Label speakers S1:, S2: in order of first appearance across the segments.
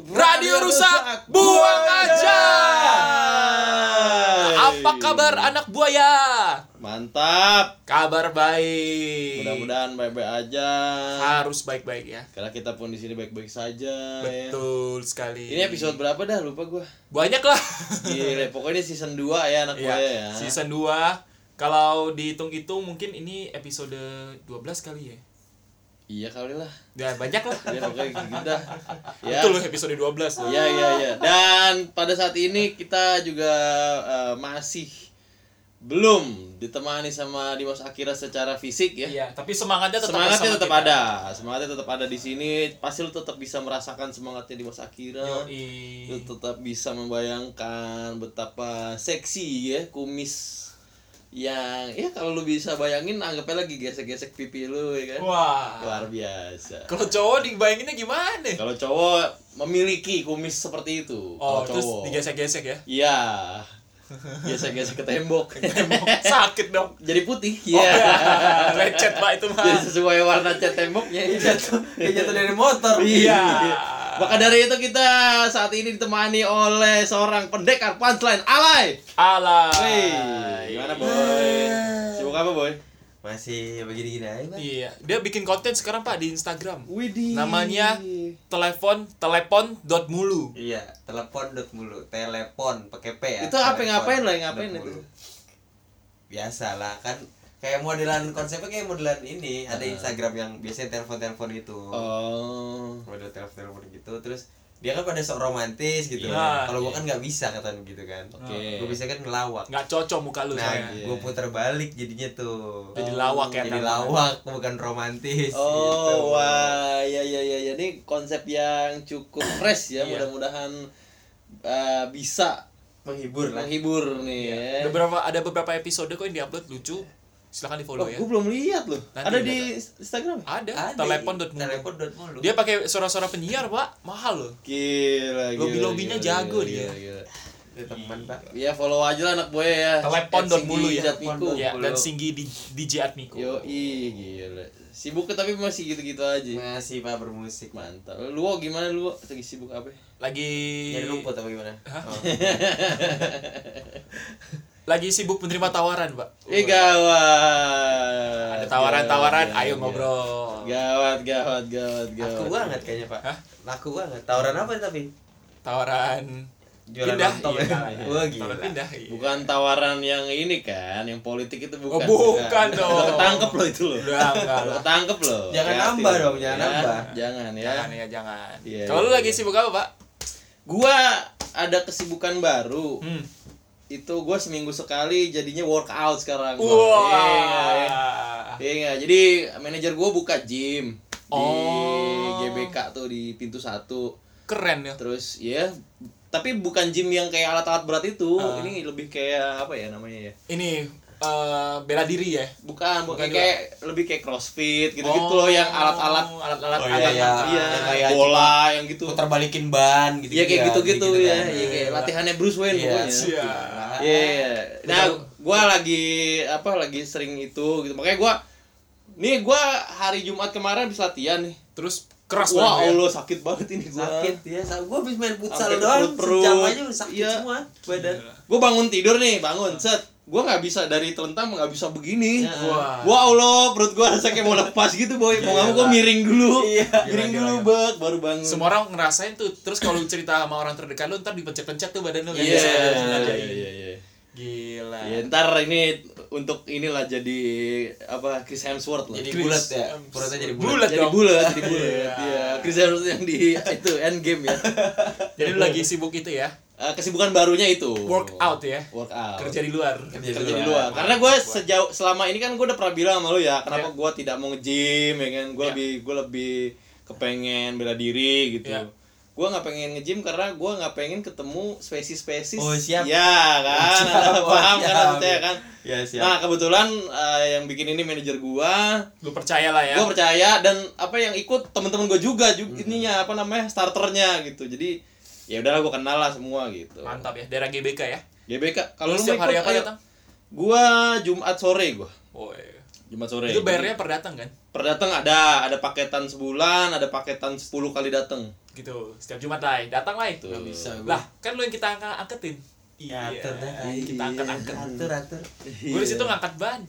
S1: Radio rusak, buang aja. Apa kabar anak buaya?
S2: Mantap.
S1: Kabar baik.
S2: Mudah-mudahan baik-baik aja.
S1: harus baik-baik ya.
S2: Karena kita pun di sini baik-baik saja. ya.
S1: Betul sekali.
S2: Ini episode berapa dah? Lupa gua.
S1: banyak lah.
S2: Gila, Iya, pokoknya season 2 ya anak
S1: Iya,
S2: buaya ya.
S1: Season 2 kalau dihitung-hitung mungkin ini episode 12 kali ya.
S2: Iya kali lah.
S1: Ya banyak lah.
S2: Ya pokoknya gitu dah. Ya.
S1: Itu loh episode 12 loh.
S2: Iya, iya, iya. Dan pada saat ini kita juga eh, masih belum ditemani sama Dimas Akira secara fisik ya.
S1: Iya, tapi semangatnya tetap
S2: Semangatnya
S1: bersama
S2: tetap
S1: kita.
S2: ada, semangatnya tetap ada di sini. Pasti lu tetap bisa merasakan semangatnya Dimas Akira.
S1: Yoi.
S2: lu tetap bisa membayangkan betapa seksi ya kumis yang ya kalau lu bisa bayangin anggapnya lagi gesek-gesek pipi lu ya kan
S1: Wah.
S2: luar biasa
S1: Kalau cowok dibayanginnya gimana?
S2: kalau cowok memiliki kumis seperti itu
S1: Oh,
S2: kalau
S1: terus
S2: cowok
S1: digesek-gesek ya.
S2: iya gesek-gesek ke tembok
S1: Emang sakit dong.
S2: jadi putih
S1: Oh,
S2: ya
S1: Lecet Pak itu mah.
S2: jadi sesuai warna cat temboknya
S3: Dia jatuh, dia jatuh dari motor.
S2: Iya.
S1: Iya.
S2: Maka dari itu kita saat ini ditemani oleh seorang pendekar punchline alay.
S1: Alah.
S2: Wih, gimana boy? Sibuk apa boy?
S3: Masih begini-gini aja. Bang.
S1: Iya, dia bikin konten sekarang Pak di Instagram.
S2: Widih.
S1: Namanya telepon telepon dot mulu.
S3: Iya, telepon dot mulu, telepon pakai P ya.
S2: Itu apa,
S3: telepon
S2: ngapain lah, ngapain itu?
S3: dot mulu. Biasalah kan kayak modelan konsepnya kayak modelan ini, ada Instagram yang biasanya telepon-telepon itu.
S2: Oh.
S3: Model telepon-telepon gitu terus dia kan pada sok romantis gitu.
S1: Iya.
S3: Kalau gua kan nggak bisa katanya gitu kan.
S2: Oke.
S3: Gua bisa kan ngelawak.
S1: Nggak cocok muka lu
S3: Nah,
S1: soalnya.
S2: iya.
S3: gue puter balik jadinya tuh.
S1: Jadi lawak ya.
S3: Jadi
S1: namanya.
S3: lawak, bukan romantis. gitu.
S2: Oh, wah, ya ya ya ya. Ini konsep yang cukup fresh ya.
S1: Iya.
S2: Mudah-mudahan eh, bisa
S3: Menghibur lah.
S2: menghibur nih ya.
S1: Beberapa ada beberapa episode kok yang diupload lucu. Silakan
S2: Oh,
S1: di-follow ya.
S2: gue belum lihat loh.
S1: Nanti Ah.
S2: Ada
S1: lihat,
S2: di Instagram. ya?
S1: Ada, telepon dot mulu.
S3: Telepon dot mulu.
S1: Dia pakai suara-suara penyiar, Pak. Mahal loh.
S2: Gila, gila.
S1: Lobby-lobbynya
S2: gila,
S1: jago
S2: gila,
S1: dia.
S2: gila.
S3: Dia teman pak.
S2: Iya, follow aja lah anak buaya ya.
S1: Telepon dot mulu ya.
S2: Jatmiku.
S1: Ya, dan
S3: Mulu.
S1: singgi di DJ Atmiko.
S2: Yo, gila. Sibuk tapi masih gitu-gitu aja.
S1: Nah.
S3: Iya. Masih pak bermusik man.
S2: Mantap. Lu Wo, gimana lu? Wo? Lagi sibuk apa?
S1: Lagi
S3: Nyari rumput apa gimana? Oh.
S1: lagi sibuk menerima tawaran, Pak.
S2: Eh gawat.
S1: Ada tawaran-tawaran,
S2: Gawat,
S1: ayo
S2: gawat.
S1: ngobrol.
S2: Gawat, gawat, gawat, gawat.
S3: Laku banget kayaknya pak.
S1: Hah?
S3: Laku banget. Tawaran apa nih, tapi?
S1: Tawaran
S3: Jualan
S1: pindah.
S3: lontong
S1: iya.
S3: ya. Wah gila.
S1: Tawaran pindah. iya.
S2: Bukan tawaran yang ini kan, yang politik itu bukan.
S1: Oh, bukan dong.
S2: Udah ketangkep loh itu loh.
S1: Udah enggak
S2: Udah
S1: lah.
S2: ketangkep loh.
S3: Jangan
S2: Hati-hati
S3: nambah
S2: loh.
S3: dong, jangan
S2: Ya,
S3: nambah.
S2: Jangan ya.
S1: Jangan ya, jangan.
S2: Iya,
S1: Kalau lu
S2: iya,
S1: lagi
S2: iya.
S1: sibuk apa, Pak?
S2: Gua ada kesibukan baru.
S1: Hmm.
S2: Itu gua seminggu sekali jadinya workout
S1: Wah.
S2: sekarang. Gua. Iya, iya. Iya nggak? jadi manajer gue buka gym
S1: Oh.
S2: di GBK tuh di pintu satu.
S1: Keren ya.
S2: Terus ya, tapi bukan gym yang kayak alat-alat berat itu.
S1: Ah.
S2: Ini lebih kayak apa ya namanya ya?
S1: Ini eh, bela diri ya.
S2: Bukan, bukan
S1: Bukan
S2: kayak, lebih kayak crossfit gitu-gitu loh yang alat-alat
S1: Oh, alat-alat
S3: Oh,
S1: alat
S3: iya, iya.
S2: iya,
S3: yang kayak
S2: bola yang gitu.
S3: Putar balikin ban gitu.
S2: Iya kayak gitu-gitu ya.
S3: kan.
S2: Iya kayak latihannya Bruce Wayne
S3: Iya.
S2: pokoknya.
S1: Iya.
S2: Iya. iya. Nah, gua lagi apa lagi sering itu gitu. Makanya gua nih gua hari Jumat kemarin habis latihan nih.
S1: Terus keras
S2: Wah,
S1: banget. ya.
S2: Allah sakit banget ini gua.
S3: Sakit ya. Gue habis main futsal
S2: Sampai
S3: doang.
S2: perut-perut.
S3: Sejam aja udah sakit
S2: Iya.
S3: semua badan.
S2: gue bangun tidur nih bangun set gue nggak bisa dari telentang nggak bisa begini
S1: Wah.
S2: Wah Allah perut gue rasa kayak mau lepas gitu boy mau nggak mau gue miring dulu
S3: Iya.
S2: miring
S3: Gila,
S2: dulu
S3: gila,
S2: bak baru bangun
S1: Semua orang ngerasain tuh. Terus kalau lu cerita sama orang terdekat lu ntar dipencet-pencet tuh badan lu kan.
S2: iya
S1: Sengaja-
S2: iya
S1: sengaja.
S2: iya iya.
S1: Gila.
S2: Ya, ntar ini untuk inilah jadi apa Chris Hemsworth lah
S3: Jadi
S1: Chris
S3: bulat ya.
S1: Hemsworth.
S3: Perutnya jadi bulat.
S1: Bulat
S2: jadi
S1: dong.
S2: bulat jadi bulat
S1: Iya.
S2: ya Chris Hemsworth yang di itu Endgame ya
S1: Jadi lu lagi sibuk itu ya.
S2: eh, kesibukan barunya itu
S1: workout ya
S2: workout
S1: kerja di luar
S3: Kerja di
S2: kerja di luar.
S3: luar.
S2: Karena gue
S1: Mantap, Wan.
S2: sejauh selama ini kan gue udah pernah bilang sama lu ya, kenapa
S1: Iya.
S2: gue tidak mau nge-gym ya kan? Gue
S1: Iya.
S2: lebih gue lebih kepengen bela diri gitu.
S1: Iya.
S2: Gue nggak pengen nge-gym karena gue nggak pengen ketemu spesies-spesies.
S3: Oh, siap.
S2: Ya kan,
S3: Siap,
S2: Anda
S3: oh,
S2: paham kan
S3: siap.
S2: maksudnya kan.
S1: Iya,
S3: ya siap
S2: Nah kebetulan eh, yang bikin ini manajer gue,
S1: lu percaya lah ya
S2: gue percaya dan apa yang ikut teman-teman gue juga, juga
S1: Hmm.
S2: ininya apa namanya starternya gitu. Jadi ya udahlah gue kenal lah semua gitu.
S1: mantap ya daerah GBK ya
S2: GBK
S1: kalau
S2: kalau lu
S1: setiap
S2: mau
S1: hari
S2: ikut,
S1: apa
S2: ayo.
S1: datang
S2: Gua Jumat sore gua.
S1: oh iya.
S2: Jumat sore.
S1: itu bayarnya per datang kan
S2: Per datang ada, ada paketan sebulan, ada paketan 10 kali datang.
S1: gitu setiap Jumat lah datang lah
S2: Tuh.
S3: nggak bisa gue
S1: lah kan lu yang kita angkat angketin iya
S3: Ya, Atur dah.
S1: kita angkat angkat
S3: atur atur
S1: gue di situ ngangkat ban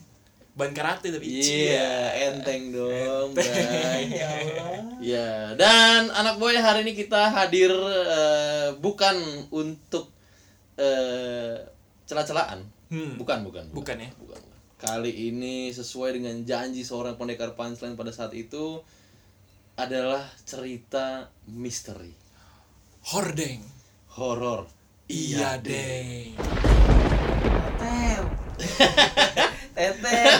S1: ban karate tapi
S2: Iya, enteng dong, Bang.
S3: ya Allah
S2: Ya, dan anak boy hari ini kita hadir eh, bukan untuk eh celah-celahan.
S1: Hmm.
S2: Bukan, bukan,
S1: Bukan ya?
S2: Bukan, bukan. Kali ini sesuai dengan janji seorang pendekar punchline pada saat itu adalah cerita misteri,
S1: hordeng
S2: horor.
S1: iya deng
S3: tem tetem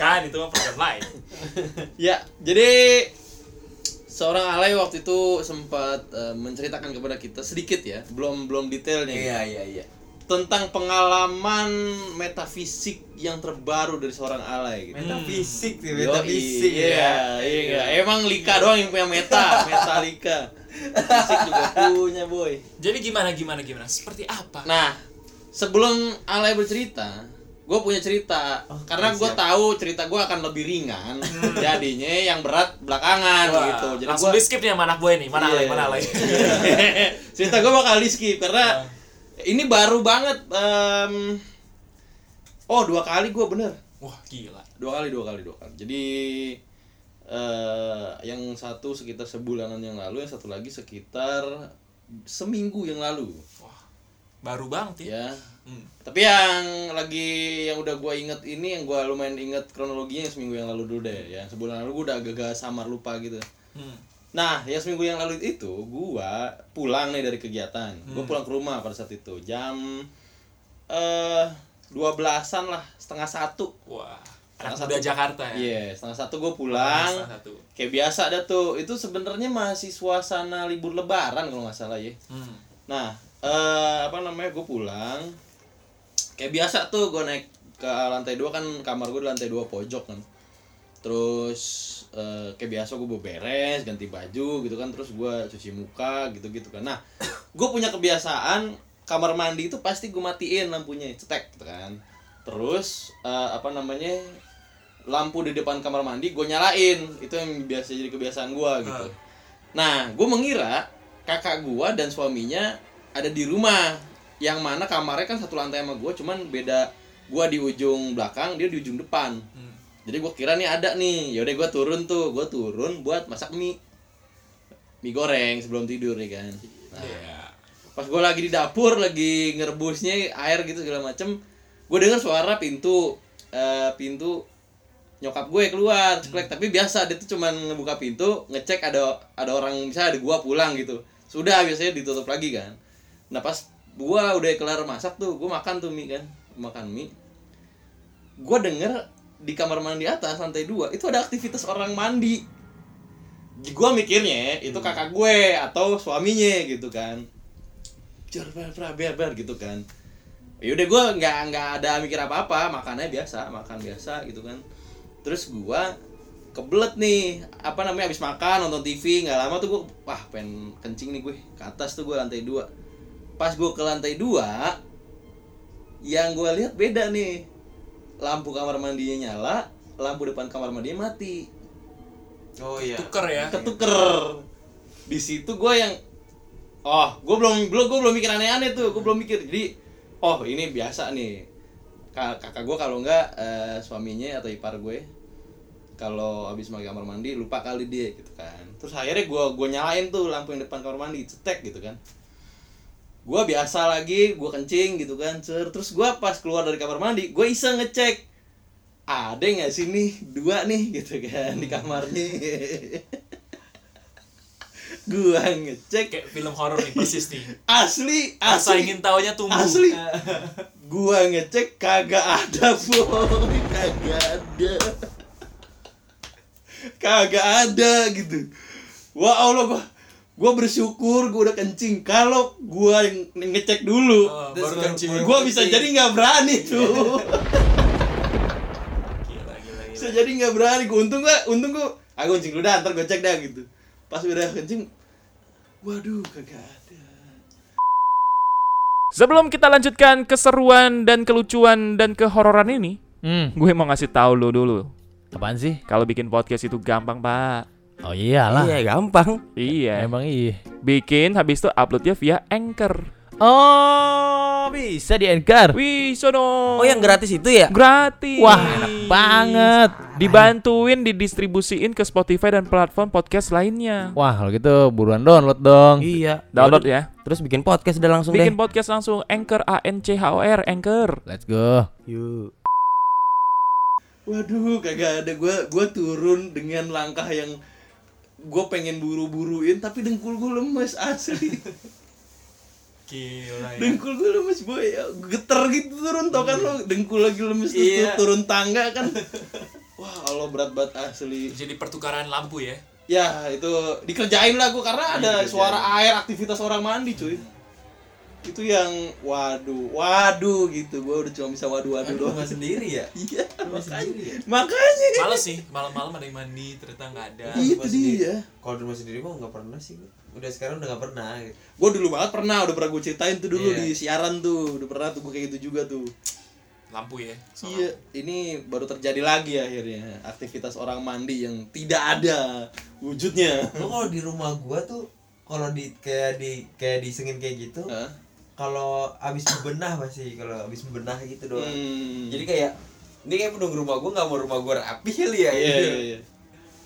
S1: kan itu mah program lain
S2: Ya, jadi seorang alay waktu itu sempat eh, menceritakan kepada kita sedikit ya, belum belum detailnya ya,
S3: iya iya iya
S2: tentang pengalaman metafisik yang terbaru dari seorang alay gitu.
S3: metafisik sih
S2: Yoi,
S3: metafisik ya.
S2: iya, iya, iya. Emang Lika doang yang punya meta, meta Lika. Fisik juga punya, boy.
S1: jadi gimana gimana gimana seperti apa
S2: Nah, sebelum Alay bercerita, gue punya cerita
S3: Oh,
S2: karena gue
S3: siap.
S2: tahu cerita gue akan lebih ringan, jadinya yang berat belakangan
S1: Wah,
S2: gitu. Jadi
S1: langsung
S2: gua-
S1: di skip nih sama anak gue nih mana
S2: Iya.
S1: alay mana alay
S2: cerita gue bakal di skip karena
S1: Ah.
S2: ini baru banget. em, oh dua kali gue bener,
S1: wah gila
S2: dua kali dua kali dua kali. Jadi eh yang satu sekitar sebulanan yang lalu, yang satu lagi sekitar seminggu yang lalu,
S1: wah baru banget ya,
S2: ya.
S1: Hmm.
S2: Tapi yang lagi yang udah gua inget ini yang gua lumayan inget kronologinya yang seminggu yang lalu dulu deh. Yang sebulan lalu gua udah agak-agak samar lupa gitu.
S1: Hmm.
S2: Nah, yang seminggu yang lalu itu gua pulang nih dari kegiatan. Gua
S1: Hmm.
S2: pulang ke rumah pada saat itu jam eh 12-an lah, setengah satu.
S1: wah
S2: Setengah
S1: anak
S2: satu.
S1: muda Jakarta ya
S2: Iya, setengah satu gua
S1: Nah,
S2: pulang.
S1: setengah satu
S2: Kayak biasa ada tuh. Itu sebenarnya masih suasana libur lebaran kalau nggak salah ya.
S1: hmm.
S2: Nah, eh apa namanya? Gue pulang. Kayak biasa tuh gue naik ke lantai dua kan kamar gue di lantai dua pojok kan. Terus eh kayak biasa gue beres, ganti baju gitu kan, terus gue cuci muka gitu-gitu kan. Nah, gue punya kebiasaan kamar mandi itu pasti gue matiin lampunya, cetek gitu kan. Terus eh apa namanya? lampu di depan kamar mandi gue nyalain itu yang biasa jadi kebiasaan gue gitu
S1: Ah.
S2: nah gue mengira kakak gue dan suaminya ada di rumah yang mana kamarnya kan satu lantai sama gue cuman beda gue di ujung belakang dia di ujung depan
S1: Hmm.
S2: jadi gue kira nih ada nih yaudah gue turun tuh gue turun buat masak mie mie goreng sebelum tidur ya kan nah,
S1: Iya.
S2: pas gue lagi di dapur lagi ngerebusnya air gitu segala macem gue dengar suara pintu eh, pintu nyokap gue keluar ceklek tapi biasa dia tuh cuman ngebuka pintu ngecek ada ada orang misalnya ada gua pulang gitu sudah biasanya ditutup lagi kan nah pas gua udah kelar masak tuh gua makan tuh mie kan makan mie gua denger di kamar mandi atas lantai dua itu ada aktivitas orang mandi gua mikirnya itu kakak gue atau suaminya gitu kan jar ber ber ber ber gitu kan ya udah gue nggak nggak ada mikir apa apa makannya biasa makan biasa gitu kan terus gue kebelet nih apa namanya abis makan nonton TV nggak lama tuh gue wah pengen kencing nih gue ke atas tuh gue lantai dua pas gue ke lantai dua yang gue lihat beda nih lampu kamar mandinya nyala lampu depan kamar mandinya mati
S3: oh iya
S1: tuker ya
S2: ketuker di situ gue yang oh gue belum belum gue belum mikir aneh-aneh tuh gue belum mikir jadi oh ini biasa nih Ka- kakak gue kalau enggak eh, suaminya atau ipar gue kalau habis mandi kamar mandi lupa kali dia gitu kan terus akhirnya gue gue nyalain tuh lampu yang depan kamar mandi cetek gitu kan gue biasa lagi gue kencing gitu kan cer terus gue pas keluar dari kamar mandi gue iseng ngecek ada nggak sih nih dua nih gitu kan di kamarnya gua ngecek
S1: kayak film horor nih persis nih
S2: asli
S1: rasa
S2: asli
S1: ingin taunya tumbuh
S2: asli gua ngecek kagak ada boy kagak ada kagak ada gitu wah allah gua gua bersyukur gua udah kencing kalau gua nge- ngecek dulu
S1: Oh,
S3: Terus
S1: baru
S3: kan-
S1: kencing Iya.
S3: baru-
S2: gua bisa jadi nggak berani tuh
S1: Ah, gila gila gila
S2: bisa jadi nggak berani gua untung gua untung gua aku kencing dulu dah ntar gua cek dah gitu pas udah kencing waduh kagak ada
S4: Sebelum kita lanjutkan keseruan dan kelucuan dan kehororan ini,
S5: Hmm,
S4: gue mau ngasih tahu lu dulu.
S5: apaan sih?
S4: Kalau bikin podcast itu gampang, Pak.
S5: Oh iyalah.
S6: Iya gampang.
S4: Iya.
S5: Emang iya.
S4: Bikin habis itu uploadnya via Anchor.
S5: Oh, bisa di anchor.
S4: Wih,
S6: Oh
S4: sono.
S6: yang gratis itu ya?
S4: gratis.
S5: Wah, enak banget.
S4: Dibantuin didistribusiin ke Spotify dan platform podcast lainnya.
S5: Wah, kalau gitu buruan download dong.
S6: Iya.
S4: Download ya.
S6: Terus bikin podcast udah langsung deh.
S4: Bikin podcast langsung Anchor A N C H O R Anchor.
S5: Let's go.
S6: Yuk.
S2: Waduh, kagak ada gua gua turun dengan langkah yang gue pengen buru-buruin tapi dengkul gue lemes asli
S3: Iya.
S1: gila ya
S2: dengkul gue lemes boy geter gitu turun tau kan lo dengkul lagi lemes terus
S3: Iya.
S2: tuh turun tangga kan wah Allah berat banget asli
S1: jadi pertukaran lampu ya
S2: ya itu dikerjain lah gue karena ada suara air aktivitas orang mandi cuy itu yang waduh waduh gitu gue udah cuma bisa waduh waduh
S3: Aduh,
S2: doang
S3: rumah sendiri ya?
S2: iya
S3: Rumah sendiri ya?
S2: makanya
S1: males sih malam-malam ada yang mandi ternyata nggak ada
S2: Iya. Itu
S3: Rumah sendiri.
S2: dia.
S3: Kalau di rumah sendiri mah nggak pernah sih gua. Udah sekarang udah nggak pernah. gitu.
S2: gue dulu banget pernah udah pernah gue ceritain tuh dulu
S3: Iya.
S2: di siaran tuh udah pernah tuh gue kayak gitu juga tuh
S1: lampu ya soal
S2: iya ini baru terjadi lagi akhirnya aktivitas orang mandi yang tidak ada wujudnya
S3: Lu kalau di rumah gua tuh kalau di kayak di kayak disengin kayak gitu,
S2: Hah?
S3: kalau abis bebenah masih kalau abis bebenah gitu doang.
S2: Hmm.
S3: Jadi kayak ini kayak penunggu rumah gua nggak mau rumah gua rapi kali ya.
S2: iya
S3: gitu.
S2: iya iya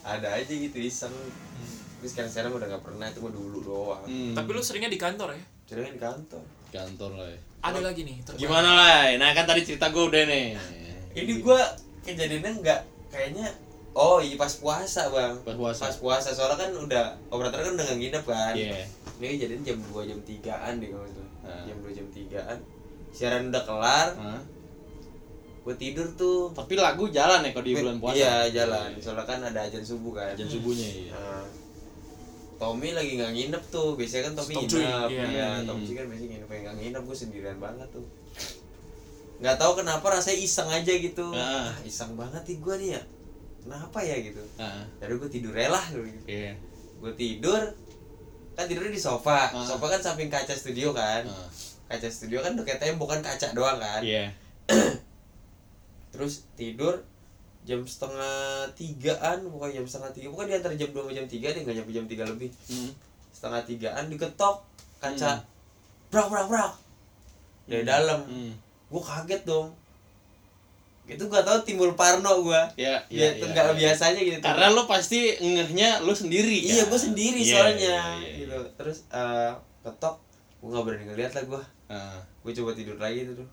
S3: Ada aja gitu iseng. Tapi sekarang sekarang udah nggak pernah itu mah dulu doang.
S2: Hmm.
S1: tapi lu seringnya di kantor ya
S3: Sekarang di kantor.
S2: kantor lah ya.
S1: ada lagi nih terbaik.
S2: gimana lah nah kan tadi cerita gue udah nih Iya,
S3: Ini gua kejadiannya nggak kayaknya Oh iya pas puasa bang
S2: Pas puasa.
S3: Pas puasa soalnya kan udah Operator kan udah nggak nginep kan
S2: Iya.
S3: Ini kejadian jam 2 jam 3an deh kalau nggak salah.
S2: Ah.
S3: Jam 2 jam 3an Siaran udah kelar
S2: Hah?
S3: Gue tidur tuh
S2: tapi lagu jalan ya kalau di bulan puasa
S3: Iya jalan Soalnya kan ada ajan subuh kan
S2: jam subuhnya iya
S3: Nah, Tommy lagi nggak nginep tuh, biasanya kan Tommy
S1: Tom Cuy,
S3: nginep,
S1: iya.
S3: Iya,
S2: Hmm.
S3: Tom Cuy kan biasanya nginep, yang nggak nginep gue sendirian banget tuh. Nggak tahu kenapa rasanya iseng aja gitu,
S2: Ah.
S3: ah, iseng banget nih gue nih ya, kenapa ya gitu.
S2: Ah,
S3: Dari gue tidur rela gitu.
S2: iya
S3: Gue tidur, kan tidurnya di sofa,
S2: Ah.
S3: sofa kan samping kaca studio kan,
S2: Ah,
S3: kaca studio kan udah kayak tembok kan kaca doang kan.
S2: iya
S3: Terus tidur jam setengah tigaan, bukan jam setengah tiga, bukan di antara jam dua sama jam tiga deh, nggak nyampe jam tiga lebih.
S2: Hmm.
S3: setengah tigaan diketok kaca brak brak brak dari Ya dalam
S2: Hmm.
S3: gue kaget dong itu gak tau timbul parno gue
S2: Iya,
S3: ya,
S2: iya,
S3: itu
S2: iya,
S3: nggak
S2: iya.
S3: biasanya gitu
S2: karena lo pasti ngehnya lo sendiri kan?
S3: iya gue sendiri
S2: Iya,
S3: soalnya
S2: iya, iya,
S3: gitu terus eh, ketok gue nggak berani ngeliat lah gue
S2: Ah,
S3: gue coba tidur lagi tuh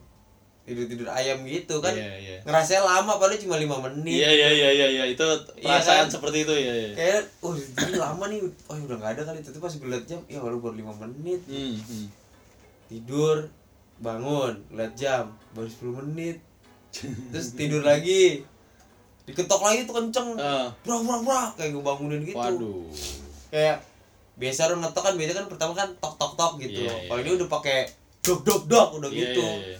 S3: tidur tidur ayam gitu kan
S2: iya, iya.
S3: ngerasa lama paling cuma lima menit
S2: Iya iya iya iya iya itu
S3: Iya
S2: perasaan
S3: kan?
S2: seperti itu ya. ya.
S3: kayak oh ini lama nih oh udah nggak ada kali itu pas gue liat jam ya baru baru lima menit
S2: Hmm, hmm.
S3: tidur bangun lihat jam baru 10 menit terus tidur lagi diketok lagi tuh kenceng
S2: Ah.
S3: brah brah brah kayak gue bangunin gitu
S2: Waduh.
S3: kayak biasa orang ngetok kan biasa kan pertama kan tok tok tok gitu
S2: Iya, iya.
S3: kalau ini udah pakai dok dok dok udah
S2: Iya,
S3: gitu
S2: iya, iya.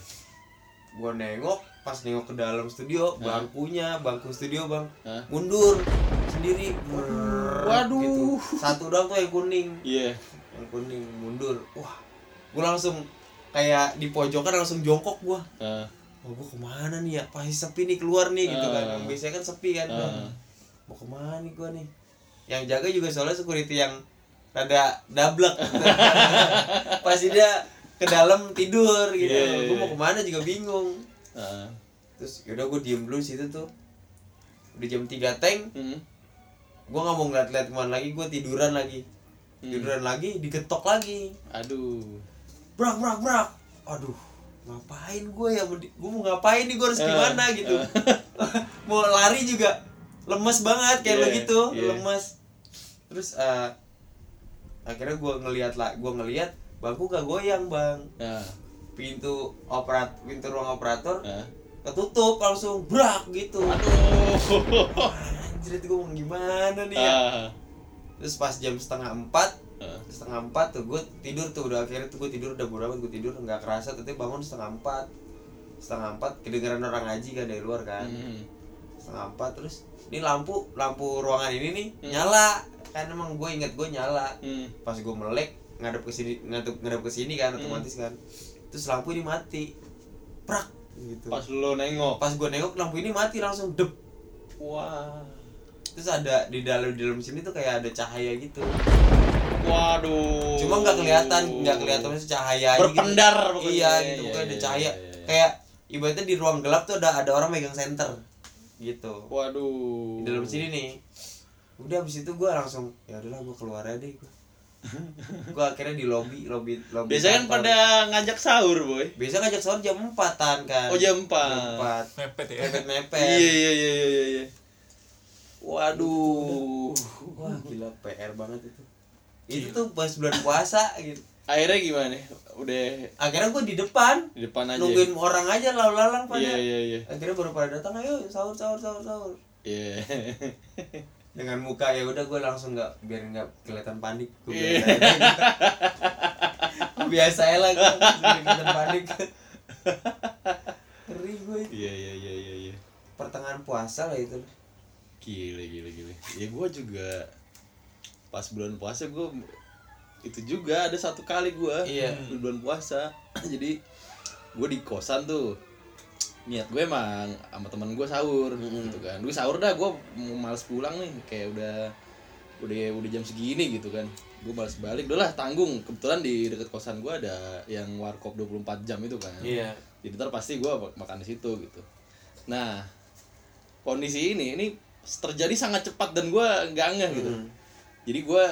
S3: gua nengok pas nengok ke dalam studio bangkunya bangku studio bang
S2: Hah?
S3: mundur sendiri Brrrr,
S2: Waduh.
S3: gitu. satu doang tuh yang kuning
S2: Iya.
S3: yang kuning mundur wah gue langsung kayak di pojokan langsung jongkok gua
S2: Ah,
S3: oh, gue kemana nih ya pasti sepi nih keluar nih gitu kan
S2: Ah.
S3: Yang biasanya kan sepi kan
S2: Ah.
S3: mau kemana nih gue nih yang jaga juga soalnya security yang rada dablek pasti dia ke dalam tidur gitu
S2: Iya, iya,
S3: gue mau
S2: iya.
S3: kemana juga bingung
S2: ah.
S3: terus yaudah gue diem dulu di situ tuh udah jam 3 tank
S2: Hmm.
S3: gue nggak mau ngeliat-liat kemana lagi gue tiduran lagi
S2: Hmm.
S3: tiduran lagi diketok lagi
S2: Aduh.
S3: brak brak brak aduh ngapain gue ya gue mau ngapain nih gue harus gimana gitu mau lari juga lemes banget kayak lo
S2: Iya,
S3: gitu
S2: iya.
S3: lemes terus eh akhirnya gua ngelihat lah gua ngelihat bangku gak goyang bang
S2: Nah,
S3: pintu operat pintu ruang operator
S2: nah.
S3: ketutup langsung brak gitu
S2: Aduh.
S3: anjir itu gua mau gimana nih ya
S2: Ah,
S3: terus pas jam setengah empat
S2: ah.
S3: setengah empat tuh gue tidur tuh udah akhirnya tuh gue tidur udah bodo amat gue tidur nggak kerasa tapi bangun setengah empat setengah empat kedengeran orang ngaji kan dari luar kan
S2: Hmm.
S3: setengah empat terus ini lampu lampu ruangan ini nih nyala kan emang gue inget gue nyala
S2: Hmm.
S3: pas gue melek ngadep ke sini ngadep ngadep ke sini kan otomatis kan terus lampu ini mati prak gitu
S2: Pas lo nengok.
S3: pas gue nengok lampu ini mati langsung dep
S2: Wah.
S3: terus ada di dalam di dalam sini tuh kayak ada cahaya gitu
S2: Waduh.
S3: cuma nggak kelihatan nggak kelihatan maksudnya cahaya aja
S2: Berpendar
S3: gitu.
S2: pokoknya.
S3: iya
S2: Iya,
S3: gitu
S2: iya,
S3: pokoknya ada
S2: iya,
S3: cahaya
S2: iya, iya.
S3: kayak ibaratnya di ruang gelap tuh ada ada orang megang senter gitu
S2: Waduh.
S3: di dalam sini nih udah abis itu gua langsung ya udahlah gua keluar aja deh gua Gua akhirnya di lobby lobby lobby
S2: Biasanya kan
S3: kantor.
S2: pada ngajak sahur, boy.
S3: biasa ngajak sahur jam empatan kan
S2: Oh, jam empat.
S3: empat
S1: mepet ya
S3: mepet mepet
S2: Iya iya iya iya iya, iya. Waduh.
S3: wah gila pr banget itu itu tuh pas bulan puasa gitu
S2: Akhirnya gimana? Udah
S3: akhirnya gua di depan
S2: di depan aja. ya?
S3: nungguin orang aja lalu-lalang pada
S2: Iya iya iya.
S3: akhirnya baru pada datang ayo sahur sahur sahur sahur
S2: Iya.
S3: dengan muka ya udah gue langsung nggak biar nggak kelihatan panik gue
S2: Iya.
S3: biasa aja lah gue kelihatan panik ngeri gue
S2: Iya iya iya iya iya.
S3: pertengahan puasa lah itu
S2: Gila gila gila. Ya gua juga pas bulan puasa gua itu juga ada satu kali gua
S3: Iya.
S2: di bulan puasa. Jadi gua di kosan tuh. Niat gue emang sama teman gua sahur gitu kan. Gue sahur dah gua mau males pulang nih kayak udah udah udah jam segini gitu kan. Gue males balik, udah lah tanggung. Kebetulan di deket kosan gua ada yang warkop 24 jam itu kan
S1: iya
S2: jadi ntar pasti gue makan di situ gitu nah kondisi ini ini terjadi sangat cepat dan gue nggak ngeh gitu jadi gue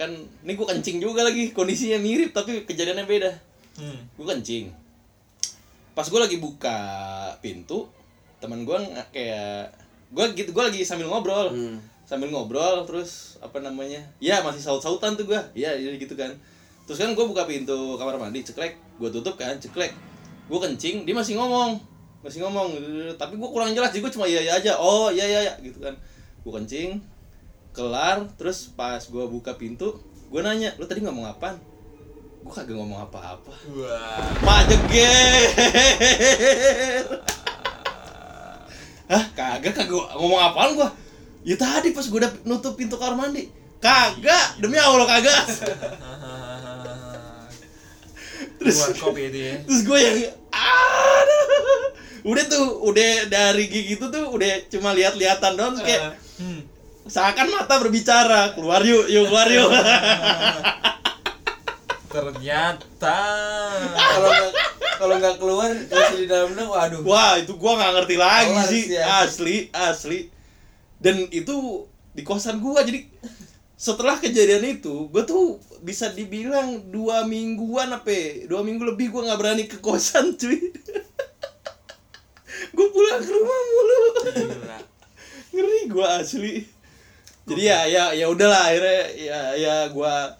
S2: kan ini gue kencing juga lagi kondisinya mirip tapi kejadiannya beda
S1: hmm.
S2: gue kencing pas gue lagi buka pintu teman gue kayak gue gitu gue lagi sambil ngobrol
S3: Hmm.
S2: sambil ngobrol terus apa namanya ya masih saut sautan tuh gue ya jadi gitu kan terus kan gue buka pintu kamar mandi ceklek gue tutup kan ceklek gue kencing dia masih ngomong masih ngomong tapi gue kurang jelas jadi gue cuma iya iya aja oh iya iya iya gitu kan gue kencing kelar terus pas gue buka pintu gue nanya lu tadi ngomong apaan gue kagak ngomong apa-apa
S1: wah
S2: Pak Jeger. Hah, kagak kagak ngomong apaan gua? Ya tadi pas gua udah nutup pintu kamar mandi. Kagak, demi Allah kagak. Terus-
S1: buat kopi itu ya
S2: Terus gua yang aduh. Udah tuh, udah dari gigi itu tuh udah cuma lihat-lihatan doang terus kayak
S1: hmm.
S2: seakan mata berbicara, keluar yuk, yuk keluar yuk.
S1: ternyata
S3: kalau nggak kalau nggak keluar masih di dalam dong waduh
S2: Wah itu gua nggak ngerti lagi
S3: Kelas
S2: sih
S3: ya.
S2: asli asli dan itu di kosan gua jadi setelah kejadian itu gua tuh bisa dibilang dua mingguan apa ya, dua minggu lebih gua nggak berani ke kosan cuy gua pulang ke rumah mulu
S1: gila
S2: ngeri gua asli jadi ya ya ya udahlah akhirnya ya ya gua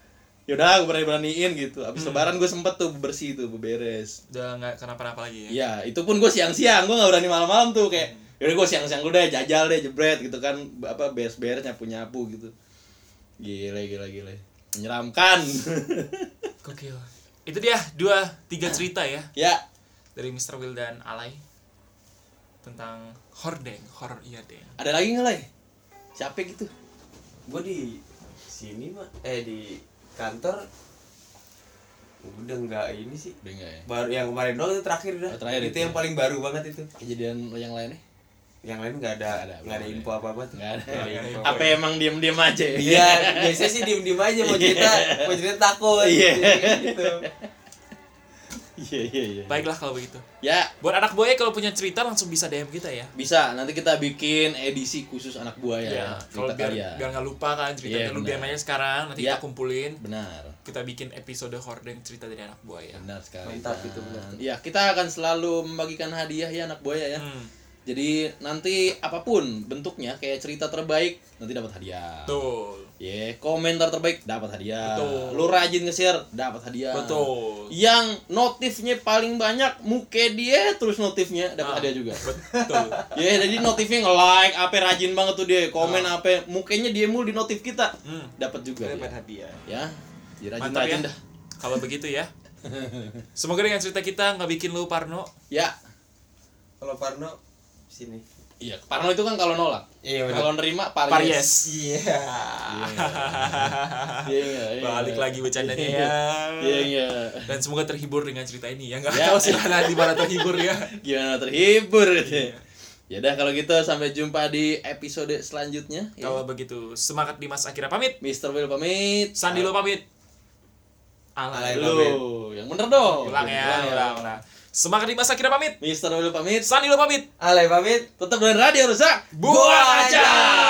S2: ya udah gua berani beraniin gitu abis lebaran gua sempet tuh bersih tuh beberes
S1: udah nggak kenapa-napa lagi ya
S2: Iya, itu pun gue siang-siang, gue gak berani malam-malam tuh kayak yaudah gue siang-siang dulu deh, jajal deh, jebret gitu kan apa beres-beres nyapu-nyapu gitu. Gila, gila, gila. Menyeramkan.
S1: Gokil. Itu dia dua tiga cerita ya
S2: ya,
S1: dari Mr. Will dan Alay tentang hordeng, hor iya deng.
S2: ada lagi nggak lagi? Siapa gitu?
S3: gue di sini mah eh di kantor udah nggak ini sih
S2: Udah nggak ya?
S3: baru yang kemarin doang itu terakhir dah
S2: Oh, terakhir
S3: itu,
S2: itu
S3: yang
S2: ya.
S3: paling baru banget itu
S2: Kejadian lo yang lainnya?
S3: yang lain nggak
S2: Nggak ada,
S3: ada nggak ada
S2: belum
S3: info
S2: ada.
S3: apa apa tuh
S2: Nggak ada.
S3: info.
S2: Apa ya? emang diem-diem aja? ya?
S3: Iya, biasanya sih diem-diem aja mau cerita, mau cerita takut.
S2: Iya.
S3: Gitu.
S2: Iya, iya, iya.
S1: Baiklah kalau begitu.
S2: Ya,
S1: Buat anak buaya kalau punya cerita langsung bisa DM kita ya.
S2: bisa nanti kita bikin edisi khusus anak buaya ya.
S1: Kalau
S2: Cerita
S1: biar
S2: kalian.
S1: biar nggak lupa kan ceritanya
S2: Iya,
S1: lu DM
S2: benar.
S1: aja sekarang nanti
S2: Iya.
S1: kita kumpulin
S2: Benar.
S1: kita bikin episode hordeng cerita dari anak buaya.
S2: Iya. Benar sekali.
S3: Mantap
S2: Tan. Iya,
S3: itu, benar.
S2: Ya, kita akan selalu membagikan hadiah ya anak buaya ya.
S1: Hmm.
S2: Jadi nanti apapun bentuknya kayak cerita terbaik nanti dapat hadiah.
S1: Betul.
S2: Ya, komentar terbaik dapat hadiah.
S1: Betul.
S2: Lu rajin nge-share dapat hadiah.
S1: Betul.
S2: Yang notifnya paling banyak muke dia terus notifnya dapat
S1: Ah.
S2: hadiah juga.
S1: Betul.
S2: Ya, jadi notifnya nge-like apa rajin banget tuh dia, komen apa mukanya dia mulu di notif kita.
S1: Ah. Hmm.
S2: Dapat juga.
S3: Dapat
S2: dia.
S3: hadiah.
S2: Ya.
S1: Mantap
S2: Jadi
S1: ya.
S2: rajin-rajin dah.
S1: Kalau begitu ya. Semoga dengan cerita kita nggak bikin lu parno.
S2: Ya.
S3: Kalau Parno sini.
S2: Iya, parno itu kan kalau nolak.
S3: Iya
S2: Kalau nerima paries.
S1: Paries.
S3: Iya.
S2: Iya, iya, iya.
S1: Balik lagi bercandanya ya.
S2: Iya, iya.
S1: Dan semoga terhibur dengan cerita ini ya. Nggak
S2: Ya.
S1: tahu sih Nana di mana terhibur ya.
S2: Gimana terhibur gitu. Ya udah kalau gitu sampai jumpa di episode selanjutnya. Ya.
S1: Kalau begitu, semangat Dimas Akira pamit.
S2: Mr. Will pamit.
S1: Sandi lo pamit. Iya. Alay.
S3: Alay.
S2: Lu yang bener dong.
S1: Ulang ya, ulang, ulang. Semangat Dimas Akira pamit.
S2: Mr. Will pamit.
S1: Sandi lo pamit.
S3: Alay pamit.
S2: Tetap dengan radio rusak.
S1: Buang aja.